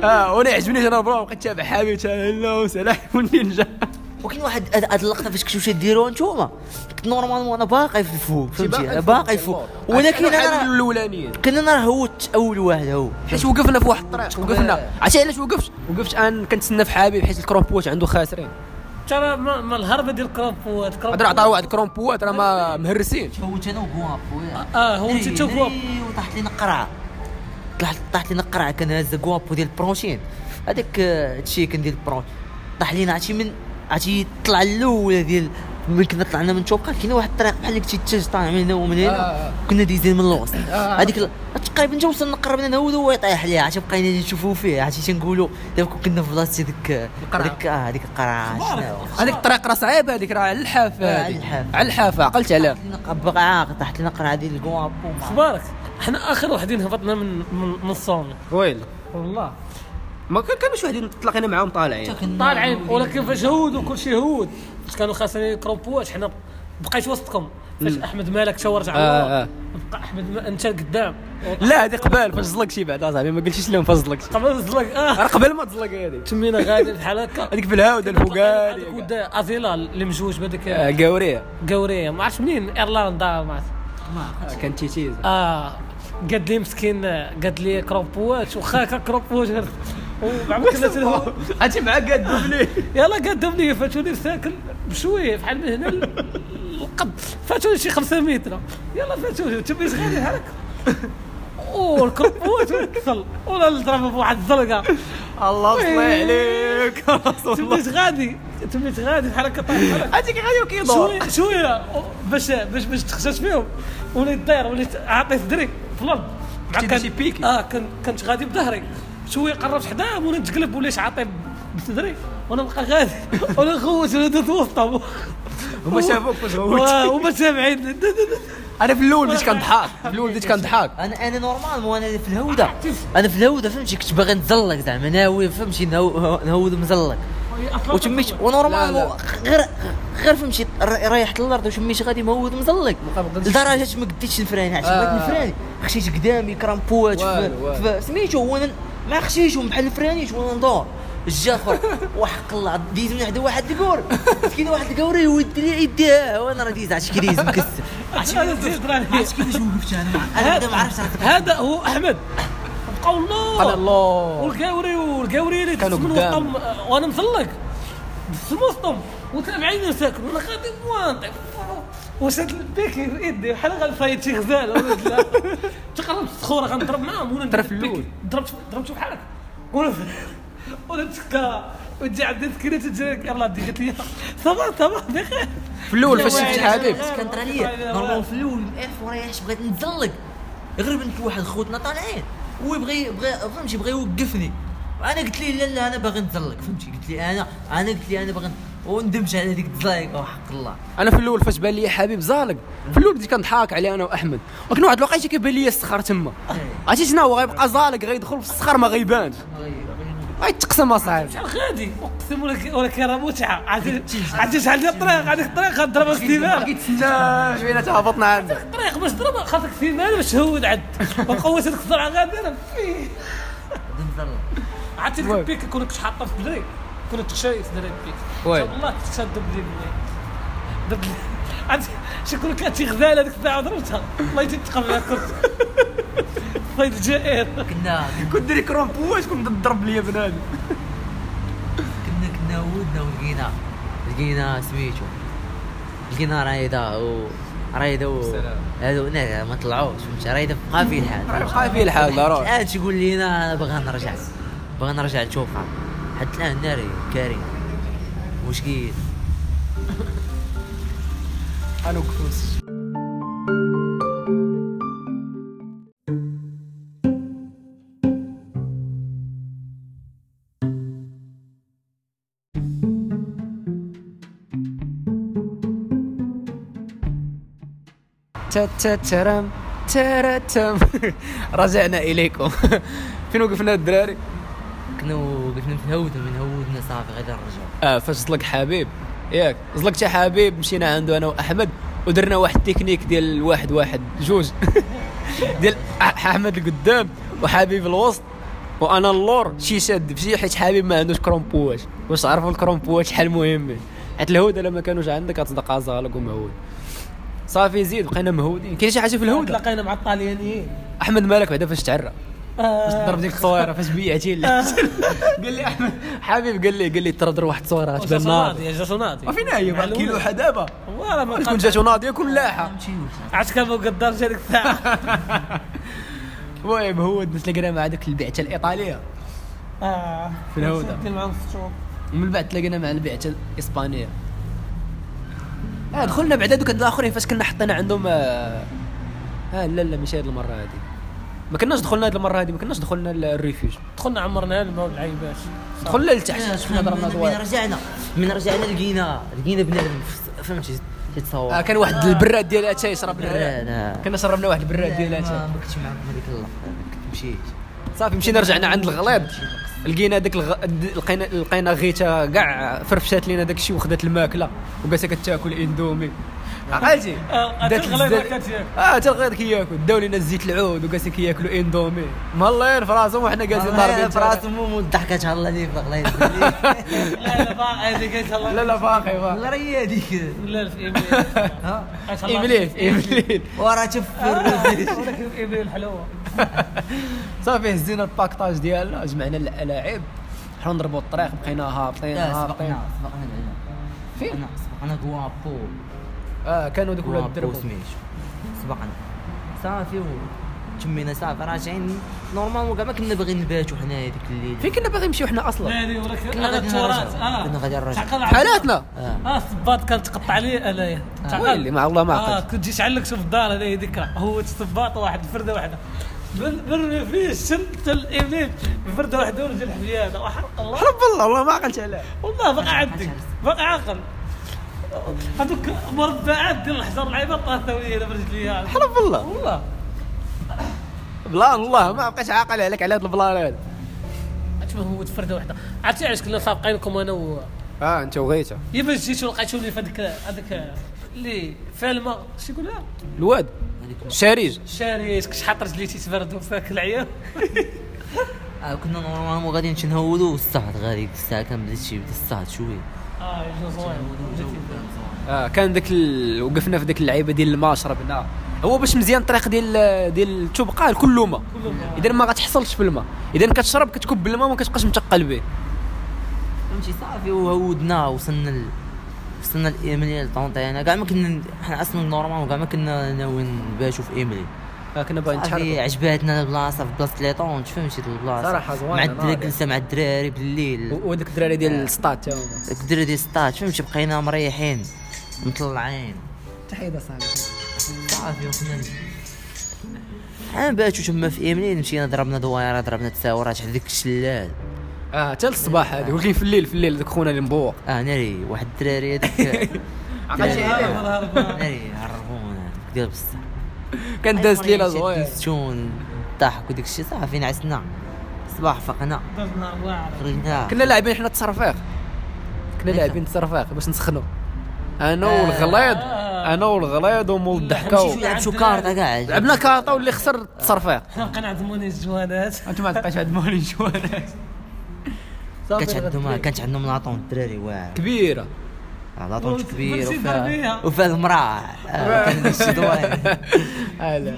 Speaker 1: اه وانا عجبنيش انا برا بقيت تابع حبيبتي لا سلاحف النينجا
Speaker 3: وكاين واحد هاد هاد اللقطه فاش كنتو تديروها نتوما كنت نورمالمون انا باقي في الفوق فهمتي أنا باقي في الفوق ولكن
Speaker 1: انا
Speaker 3: انا
Speaker 1: الاولانيين
Speaker 3: كنا انا هوت اول واحد هو
Speaker 1: حيت وقفنا في واحد الطريق
Speaker 3: آه.
Speaker 1: وقفنا عرفتي علاش وقفت وقفت ان كنتسنى في حبيب حيت الكرومبوات عنده خاسرين
Speaker 2: ترى ما ما الهربه ديال كرامبوات
Speaker 1: هضر عطاه واحد الكرومبوات راه ما مهرسين
Speaker 3: هوت انا وكواف خويا
Speaker 1: آه،
Speaker 2: اه هو انت
Speaker 3: دري-
Speaker 2: تشوف هو
Speaker 3: دري إيه، وطاحت لينا قرعه طلعت طاحت لينا قرعه كان هازه كوابو ديال البروتين هذاك آه، التشيكن ديال البروتين طاح لينا عرفتي من عرفتي طلع الاولى ديال من كنا طلعنا من توقع كاين واحد الطريق بحال اللي كنتي تتج طالع من هنا ومن
Speaker 1: آه.
Speaker 3: هنا كنا دايزين من الوسط
Speaker 1: آه.
Speaker 3: هذيك ال- تقريبا جا وصلنا قربنا انا هو يطيح ليها عرفتي بقينا نشوفوا فيه عرفتي تنقولوا دابا كنا في بلاصتي ديك آه،
Speaker 1: القرعة.
Speaker 3: ديك اه هذيك القرعه شنو
Speaker 1: هذيك الطريق راه صعيبه هذيك راه على الحافه
Speaker 3: آه، على
Speaker 1: هذيك.
Speaker 3: الحافة.
Speaker 1: على الحافه عقلت عليها
Speaker 3: طاحت لينا قرعه آه، طاحت لينا قرعه ديال الكوابو
Speaker 2: اخبارك احنا اخر واحدين هبطنا من من, من الصومي
Speaker 1: ويل
Speaker 2: والله
Speaker 1: ما كان كانوش واحد تلاقينا معاهم طالعين
Speaker 2: طالعين ولكن فاش هود وكل شيء هود فاش كانوا خاسرين كروبوات حنا بقيت وسطكم فاش احمد مالك شاور رجع
Speaker 1: آه،
Speaker 2: لورا
Speaker 1: آه.
Speaker 2: بقى احمد ما... انت قدام
Speaker 1: لا هذه قبل فاش زلق شي بعد صاحبي ما قلتيش لهم فاش زلقت
Speaker 2: قبل الزلق اه
Speaker 1: راه قبل ما تزلق هذه
Speaker 2: تمينا غادي بحال هكا
Speaker 1: هذيك في الهاوده
Speaker 2: هذاك
Speaker 1: الفوقاني
Speaker 2: ودا ازيلا اللي مجوج بهذيك
Speaker 1: آه، قوريه
Speaker 2: قوريه ما عرفتش منين ايرلندا ما عرفت
Speaker 1: آه، كان تيتيز
Speaker 2: اه قد لي مسكين قد لي كروبوات وخا كان كروبوات وعمرك كنا تلهو
Speaker 1: عرفتي مع قاد دوبلي
Speaker 2: يلا قدمني فاتوني ساكن بشويه بحال من هنا ل- القد فاتوني شي 500 متر يلا فاتوني تمي صغير هاك والكروبوات والكسل ولا نضرب بواحد الزلقه
Speaker 1: الله يصلي عليك
Speaker 2: تميت غادي تميت غادي بحال هكا طايح بحال هكا.
Speaker 1: هذيك غادي وكيدور
Speaker 2: شويه شويه باش باش باش تخشاش فيهم وليت داير وليت عاطيت دري في الارض مع
Speaker 1: كنتي
Speaker 2: كان-
Speaker 1: شي بيكي.
Speaker 2: اه كان- كنت غادي بظهري شويه قربت حداه وانا نتقلب وليت عاطي بصدري وانا بقى غادي *laughs* وانا غوت وانا درت وسطهم
Speaker 1: هما شافوك
Speaker 2: *laughs*
Speaker 1: فاش غوت. *laughs*
Speaker 2: واه، هما سامعين
Speaker 1: انا في الاول بديت كنضحك في الاول بديت كنضحك
Speaker 3: انا انا نورمال مو انا في الهوده انا في الهوده فهمتي كنت باغي نتزلق زعما ناوي فهمتي نهو- نهود مزلق وتميت
Speaker 1: لا،
Speaker 3: ونورمال
Speaker 1: لا.
Speaker 3: مو- غير غير فهمتي ر- رايح للارض وتميت غادي مهود مزلق
Speaker 1: بقدرش.
Speaker 3: لدرجه ما قديتش نفراني عرفتي
Speaker 1: آه.
Speaker 3: بغيت نفراني خشيت قدامي كرامبوات
Speaker 1: والو، والو.
Speaker 3: سميتو وانا ما خشيتهم بحال نفرانيش وانا ندور جا اخر وحق الله ديز من حدا واحد الكور مسكين واحد الكور يودي لي يديها وانا راه ديز عرفتي
Speaker 1: *laughs*
Speaker 3: كريز مكسر عرفتي كيفاش وقفت انا انا بعدا ما عرفتش راه
Speaker 2: هذا هو احمد بقاو
Speaker 1: قال
Speaker 2: الله
Speaker 1: الله
Speaker 2: والقاوري والقاوري اللي
Speaker 1: كانوا
Speaker 2: كانوا من
Speaker 1: قدام.
Speaker 2: وسطهم آه، وانا مزلق في وسطهم وكان بعيني ساكن وانا غادي وانطي وشاد البيكي في يدي بحال غنفايت شي غزال ولا لا
Speaker 1: *laughs*
Speaker 2: تقربت الصخوره غنضرب معاهم وانا
Speaker 1: طرف
Speaker 2: ندير البيكي.
Speaker 1: اللول.
Speaker 2: ضربت ضربت بحالك وانا *laughs* وانا تكا وتجي عندي تكينه تجي يلاه دي قالت لي صباح صباح بخير
Speaker 1: في الاول فاش شفت حبيب
Speaker 3: كانت عليا نورمال في الاول اف ورايح بغيت نتزلق غير بنت واحد خوتنا طالعين هو بغى بغى فهمتي بغى يوقفني انا قلت ليه لا لا انا باغي نتزلق فهمتي قلت لي انا انا قلت لي انا باغي ن- وندمت على هذيك التزايقه وحق الله
Speaker 1: انا في الاول فاش بان لي حبيب زالق في الاول بديت كنضحك عليه انا واحمد ولكن واحد الوقيته كيبان لي الصخر تما عرفتي شنو هو غيبقى زالق غيدخل في الصخر ما غيبانش غيتقسم اصاحبي
Speaker 2: غادي اقسم لك ولكن راه متعه
Speaker 1: *laughs*
Speaker 2: عرفتي عرفتي شحال ديال الطريق عندك الطريق غنضربها سليمان
Speaker 1: كيتسنى شويه تهبطنا عندك
Speaker 2: الطريق باش ضربها خاصك سيمان باش تهود عند وقوت هذيك الزرعه غادره فيه
Speaker 3: نتزلق
Speaker 2: عرفتي ديك
Speaker 1: وي.
Speaker 2: البيك كون كنت حاطه في بدري كون تخشيت دري البيك
Speaker 1: وي.
Speaker 2: ان شاء الله كنت شاد بلي بلي درت لي- عرفتي شكون كانت شي غزاله هذيك الساعه ضربتها الله
Speaker 1: *laughs*
Speaker 2: يتقى بها كنت صيد الجائر
Speaker 3: كنا
Speaker 1: كنت ديري كرومبوات كنت تضرب ليا بنادم
Speaker 3: كنا كنا ودنا ولقينا لقينا سميتو لقينا رايدة و رايدة و
Speaker 1: بسلام.
Speaker 3: هادو لا ما طلعوش فهمتي رايدة بقى في الحال
Speaker 1: راه بقى فيه الحال، ضروري.
Speaker 3: الان تقول لي انا أنا باغي نرجع باغي نرجع لتوقع حتى الان ناري كاري واش كاين
Speaker 1: انا وقفت تا- تا- ترام ترا- تام *laughs* رجعنا اليكم *laughs* فين وقفنا الدراري
Speaker 3: كنا وقفنا في هودنا من هودنا صافي غادي نرجعو
Speaker 1: اه فاش زلق حبيب ياك زلقت يا حبيب مشينا عنده انا واحمد ودرنا واحد التكنيك ديال واحد واحد جوج *laughs* ديال أح- احمد القدام وحبيب الوسط وانا اللور شي شاد بشي حيت حبيب ما عندوش كرومبواش واش عرفوا الكرومبواش شحال مهمين حيت الهوده لما كانوش عندك غتصدق زغلق ومهود صافي زيد بقينا مهودين كاين شي حاجه في الهوده
Speaker 2: تلاقينا مع الطاليانيين
Speaker 1: احمد مالك بعدا فاش تعرى فاش
Speaker 2: آه.
Speaker 1: ضرب ديك التصويره فاش بيعتي له *laughs* قال لي احمد حبيب قال لي قال لي ترى ضرب واحد التصويره تبان ناضي
Speaker 2: جاسوناتي جاسوناتي
Speaker 1: ما فينا هي بحال كيلو دابا *laughs*
Speaker 2: والله ما
Speaker 1: تكون
Speaker 2: كنت
Speaker 1: جاتو ناضيه كون لاحه
Speaker 2: عاد كان فوق الدرجه ديك
Speaker 1: *laughs*
Speaker 2: الساعه
Speaker 1: المهم هو تلاقينا مع ديك البعته الايطاليه
Speaker 2: آه.
Speaker 1: في الهودة.
Speaker 2: سدي معاهم السطور
Speaker 1: ومن بعد تلاقينا مع البعته الاسبانيه اه دخلنا بعدا دوك هاد الاخرين فاش كنا حطينا عندهم اه آه، لا لا مش هاد المره هادي ما كناش دخلنا هاد المره هادي ما كناش دخلنا الريفيوج
Speaker 2: دخلنا عمرنا الماء والعيبات
Speaker 1: دخلنا لتحت
Speaker 3: شفنا
Speaker 1: شفنا ضربنا
Speaker 3: من
Speaker 1: دوار
Speaker 3: رجعنا من رجعنا لقينا لقينا بنادم فهمتي تيتصور
Speaker 1: آه كان واحد البراد ديال اتاي شربنا
Speaker 3: براد، آه.
Speaker 1: كنا شربنا واحد البراد ديال
Speaker 3: ما-
Speaker 1: اتاي
Speaker 3: ما كنتش معاكم هذيك اللقطه ما كنت مشيت
Speaker 1: صافي مشينا رجعنا عند الغليظ لقينا داك الغ... د- لقينا لقينا غيتا كاع فرفشات لينا داك الشيء وخدات الماكله وبقات كتاكل اندومي عقلتي
Speaker 2: آه،
Speaker 1: دات
Speaker 2: حتى الغليظ
Speaker 1: الزد-
Speaker 2: ما كانت ياكل.
Speaker 1: اه حتى الغليظ كياكل داو لينا الزيت العود وقاس كياكلوا اندومي مهلاين في راسهم وحنا جالسين ضاربين
Speaker 3: في راس
Speaker 1: تالا.
Speaker 3: مو الضحكه تهلا لي في الله
Speaker 2: *laughs* لا لا بقى هذيك قالت الله
Speaker 1: لا لا باقي باقي
Speaker 3: لا راهي هذيك
Speaker 2: لا
Speaker 1: *laughs*
Speaker 2: في ايميل
Speaker 3: ها
Speaker 2: قالت الله-
Speaker 1: ايميليت ايميليت
Speaker 3: وراه تشوف في الرز
Speaker 2: آه، *laughs* ولكن ايميل حلوه
Speaker 1: صافي هزينا الباكتاج ديالنا جمعنا اللاعب حنا نضربوا الطريق بقينا هابطين
Speaker 3: لا،
Speaker 1: هابطين
Speaker 3: سبقنا سبقنا بعدا
Speaker 1: فين؟
Speaker 3: سبقنا كوابو
Speaker 1: اه كانوا دوك
Speaker 2: آه،
Speaker 1: ولاد
Speaker 3: كوابو
Speaker 1: الدرب
Speaker 3: سميتو سبقنا صافي و تمينا صافي راجعين نورمالمون كاع ما كنا باغيين نباتو حنا هذيك الليله
Speaker 1: فين كنا باغي نمشيو حنا اصلا
Speaker 2: ناري ولكن
Speaker 3: كنا
Speaker 2: انا
Speaker 3: غادي
Speaker 2: التراث
Speaker 3: نرجعوا.
Speaker 2: اه
Speaker 3: كنا غادي نرجعوا.
Speaker 2: تعقل عبد-
Speaker 1: حالاتنا
Speaker 3: اه
Speaker 2: اه الصباط كان تقطع عليه انايا تعقل.
Speaker 1: آه. ويلي، مع الله ما
Speaker 2: اه
Speaker 1: عقلت.
Speaker 2: كنت جيت علق شوف الدار هذه ذكرى هو الصباط واحد فرده واحده من من فيه شلت الايميل بفرده واحده ورجع الحبيانه وحرق الله
Speaker 1: رب الله والله ما عقلت عليها
Speaker 2: والله بقى عندك بقى عاقل هذوك مربعات ديال الحجر العيبه طاحت ويا برجليها
Speaker 1: رب الله
Speaker 2: والله
Speaker 1: بلان الله ما بقيتش عاقل عليك على هاد البلان هذا
Speaker 2: تشوف هو فرده واحده عرفتي علاش كنا سابقينكم انا و
Speaker 1: اه انت وغيتها
Speaker 2: يا باش جيت ولقيتوني في هذيك هذيك اللي في الماء شو يقول لها؟
Speaker 1: الواد الشارج
Speaker 2: شاري شحال رجلي تتبرد وفاك العيال
Speaker 3: آه، كنا نورمالمون غادي نمشي نهودو والصهد غادي ديك الساعه كان بدات شي بدا الصهد شويه
Speaker 2: اه يجوا زوين
Speaker 1: اه كان داك ال... وقفنا في داك اللعيبه ديال الماء شربنا هو باش مزيان الطريق ديال ديال التوبقال كله ماء
Speaker 2: كله ماء.
Speaker 1: اذا ما غتحصلش في الماء اذا كتشرب كتكب الماء ما كتبقاش متقل به
Speaker 3: فهمتي صافي وهودنا وصلنا ل... وصلنا لايميلي لطونطيانا كاع ما كنا حنا اصلا نورمال كاع ما كنا ناويين نباتو في ايميلي
Speaker 1: آه كنا باغيين
Speaker 3: صافي
Speaker 1: نتحركوا
Speaker 3: عجباتنا البلاصه في بلاصه ليطون فهمتي البلاصه
Speaker 1: صراحة زوينة،
Speaker 3: مع
Speaker 1: ناضية.
Speaker 3: الدراري جلسه مع الدراري بالليل
Speaker 1: و- وداك الدراري ديال السطات تا هما
Speaker 3: داك الدراري ديال السطات فهمتي بقينا مريحين مطلعين
Speaker 1: تحيه صاحبي
Speaker 3: صافي وكنا حنا باتو تما في ايميلي مشينا ضربنا دويره ضربنا تساورات على ديك الشلال
Speaker 1: اه حتى الصباح هذه ولكن في الليل في الليل ذاك خونا اللي مبوق
Speaker 3: اه ناري واحد
Speaker 1: *laughs*
Speaker 3: الدراري هذاك
Speaker 1: عقلتي عليه
Speaker 3: ناري هربونا ديال بصح
Speaker 1: كان داز
Speaker 3: أيوة،
Speaker 1: ليله زوينه
Speaker 3: الزيتون الضحك وداك الشيء صافي نعسنا الصباح فقنا خرجنا
Speaker 1: كنا لاعبين حنا التصرفيق كنا لاعبين التصرفيق باش نسخنوا انا والغليظ انا والغليظ ومول
Speaker 3: مشيتو
Speaker 1: الضحكه
Speaker 3: لعبتو كارطه كاع
Speaker 1: لعبنا كارطه واللي خسر التصرفيق
Speaker 2: حنا بقينا عند موني الجوانات
Speaker 1: انتم ما تبقاش عند مولي جوانات
Speaker 3: كانت عندهم كانت عندهم لاطون الدراري واعر
Speaker 1: كبيره
Speaker 3: لاطون كبير
Speaker 2: مرسي
Speaker 3: وفيها
Speaker 2: بربية.
Speaker 3: وفيها المراه آه، كان داك الشيء دوار.
Speaker 1: *laughs* هلا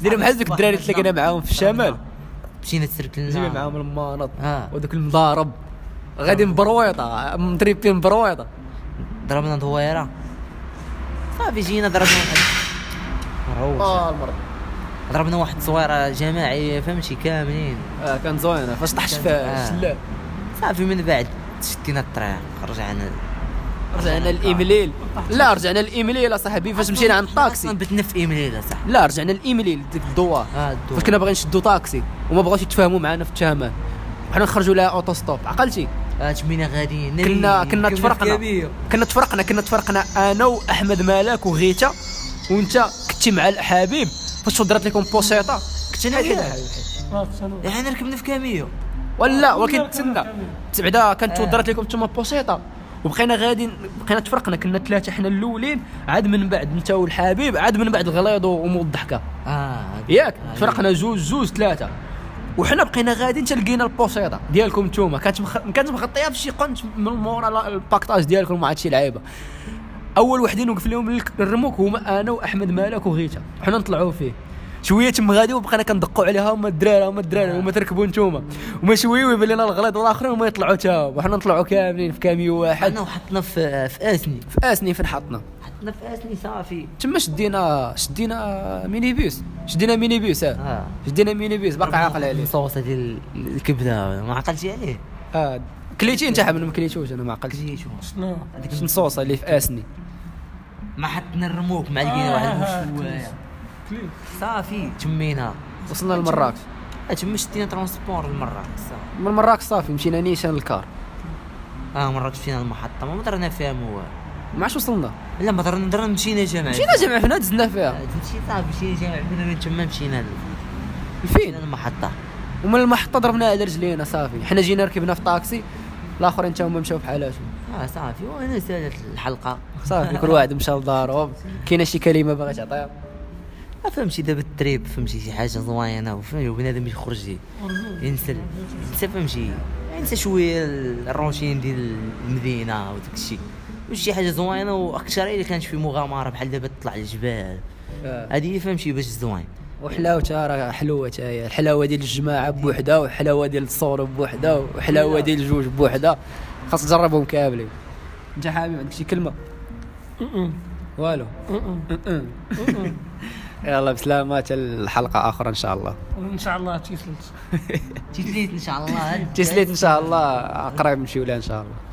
Speaker 1: دير بحال ذوك الدراري اللي تلاقينا معاهم في الشمال
Speaker 3: مشينا تسركلنا
Speaker 1: جايبين معاهم المانط
Speaker 3: آه.
Speaker 1: ودوك المضارب غاديين برويطه متريبين برويطه
Speaker 3: ضربنا دويره صافي جينا ضربنا واحد مروج.
Speaker 1: آه، المرض
Speaker 3: ضربنا واحد التصويره جماعيه فهمتي كاملين
Speaker 1: اه كان زوينه فاش طحش في
Speaker 3: آه.
Speaker 1: الشلال
Speaker 3: صافي من بعد شدينا الطريق رجعنا
Speaker 1: رجعنا الايميليل لا رجعنا الايميليل اصاحبي فاش مشينا عند الطاكسي
Speaker 3: اصلا بتنا في ايميليلا إيه صح
Speaker 1: لا رجعنا الايميليل ديك الدوار
Speaker 3: آه، الدوار.
Speaker 1: فاش كنا باغيين نشدو طاكسي وما بغاوش يتفاهموا معنا في التهامات وحنا نخرجوا لها اوتو ستوب عقلتي
Speaker 3: آه، تمينا غادي ناري.
Speaker 1: كنا إيه، كنا
Speaker 3: في
Speaker 1: تفرقنا
Speaker 3: كبير.
Speaker 1: كنا تفرقنا كنا تفرقنا انا واحمد مالك وغيتا وانت كنتي مع الحبيب فاش درت لكم بوسيطه
Speaker 3: كنت انا
Speaker 1: أيوه.
Speaker 3: وياه
Speaker 2: ما
Speaker 3: احنا ركبنا في يعني كاميو
Speaker 1: ولا ولكن تسنى بعدا كانت ودرت لكم تما بوسيطه وبقينا غادي بقينا تفرقنا كنا ثلاثه حنا الاولين عاد من بعد انت والحبيب عاد من بعد الغليظ ومو الضحكه
Speaker 3: اه
Speaker 1: ياك تفرقنا جوج جوج ثلاثه وحنا بقينا غاديين حتى لقينا البوصيده ديالكم نتوما كانت مخ... كانت مغطيه فشي قنت من مورا لا- الباكتاج ديالكم مع هادشي لعيبه اول وحدين وقف لهم الك- الرموك هما انا واحمد مالك وغيتا حنا نطلعوا فيه شويه تم غادي وبقينا كندقوا عليها هما الدراري هما الدراري هما تركبوا نتوما وما شويه ويبان لنا الغليظ الاخرين وما يطلعوا تا هما وحنا نطلعوا كاملين في كاميو واحد
Speaker 3: حنا وحطنا آه، في في اسني
Speaker 1: في اسني فين حطنا
Speaker 3: حطنا في اسني صافي
Speaker 1: تما شدينا شدينا مينيبيوس شدينا مينيبيوس اه
Speaker 3: اه
Speaker 1: شدينا مينيبيوس باقي عاقل عليه
Speaker 3: الصوصه ديال الكبده ما عقلتش عليه
Speaker 1: اه كليتي انت حبل ما كليتوش انا ما عقلتش
Speaker 3: كليتو
Speaker 2: شنو
Speaker 3: هذيك
Speaker 1: شنو الصوصه اللي في اسني
Speaker 3: ما حطنا الرموك مع لقينا واحد المشوايه
Speaker 2: كليب
Speaker 3: صافي تمينا
Speaker 1: وصلنا لمراكش
Speaker 3: تما شدينا ترونسبور لمراكش صافي
Speaker 1: من مراكش صافي مشينا نيشان للكار
Speaker 3: اه مراكش فينا المحطه ما درنا فيها موال
Speaker 1: ما عادش وصلنا
Speaker 3: لا ما درنا درنا مشينا جامع
Speaker 1: مشينا جمع فينا دزنا فيها
Speaker 3: مشي صافي مشينا جامع بنا من تما مشينا ل- مشينا
Speaker 1: فين
Speaker 3: للمحطه
Speaker 1: ومن المحطه ضربنا على رجلينا صافي حنا جينا ركبنا في طاكسي الاخرين تا هما مشاو بحالاتهم
Speaker 3: اه صافي وانا سالت الحلقه
Speaker 1: صافي كل واحد مشى لدارهم كاينه شي كلمه باغي تعطيها
Speaker 3: ما فهمتي دابا التريب فهمتي شي حاجه زوينه وفهمتي وبنادم يخرج ي- ينسى ينسى فهمتي ينسى شويه الروتين ديال المدينه وداك الشيء وشي حاجه زوينه واكثر الا كانت في مغامره بحال دابا تطلع للجبال
Speaker 1: آه.
Speaker 3: هذه هي فهمتي باش زوين
Speaker 1: وحلاوتها راه حلوه تا هي الحلاوه ديال الجماعه بوحدها والحلاوه ديال الصور بوحدها والحلاوه ديال الجوج بوحدها خاص تجربهم كاملين انت حبيب عندك شي كلمه والو يلا بسلامة تا الحلقة أخرى إن شاء الله
Speaker 2: ان شاء الله تيسلت
Speaker 3: تيسليت ان شاء الله
Speaker 1: تسليت إن شاء الله قريب نمشيو لها إن شاء الله